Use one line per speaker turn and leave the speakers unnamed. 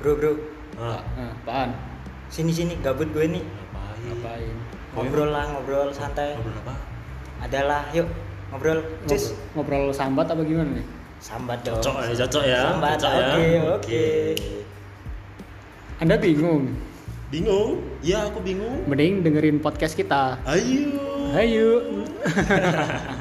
bro bro
Hah,
Nah, apaan?
sini sini gabut gue nih
ngapain?
Ngapain?
ngobrol lah ngobrol santai
Ngobrol apa?
adalah yuk ngobrol cus
Ngobrol sambat apa gimana nih?
sambat dong
Cocok ya, cocok ya.
Sambat,
cocok ya.
eh, oke, oke.
Anda bingung?
Bingung? Ya, aku bingung.
Mending dengerin podcast kita.
Ayo.
Ayo.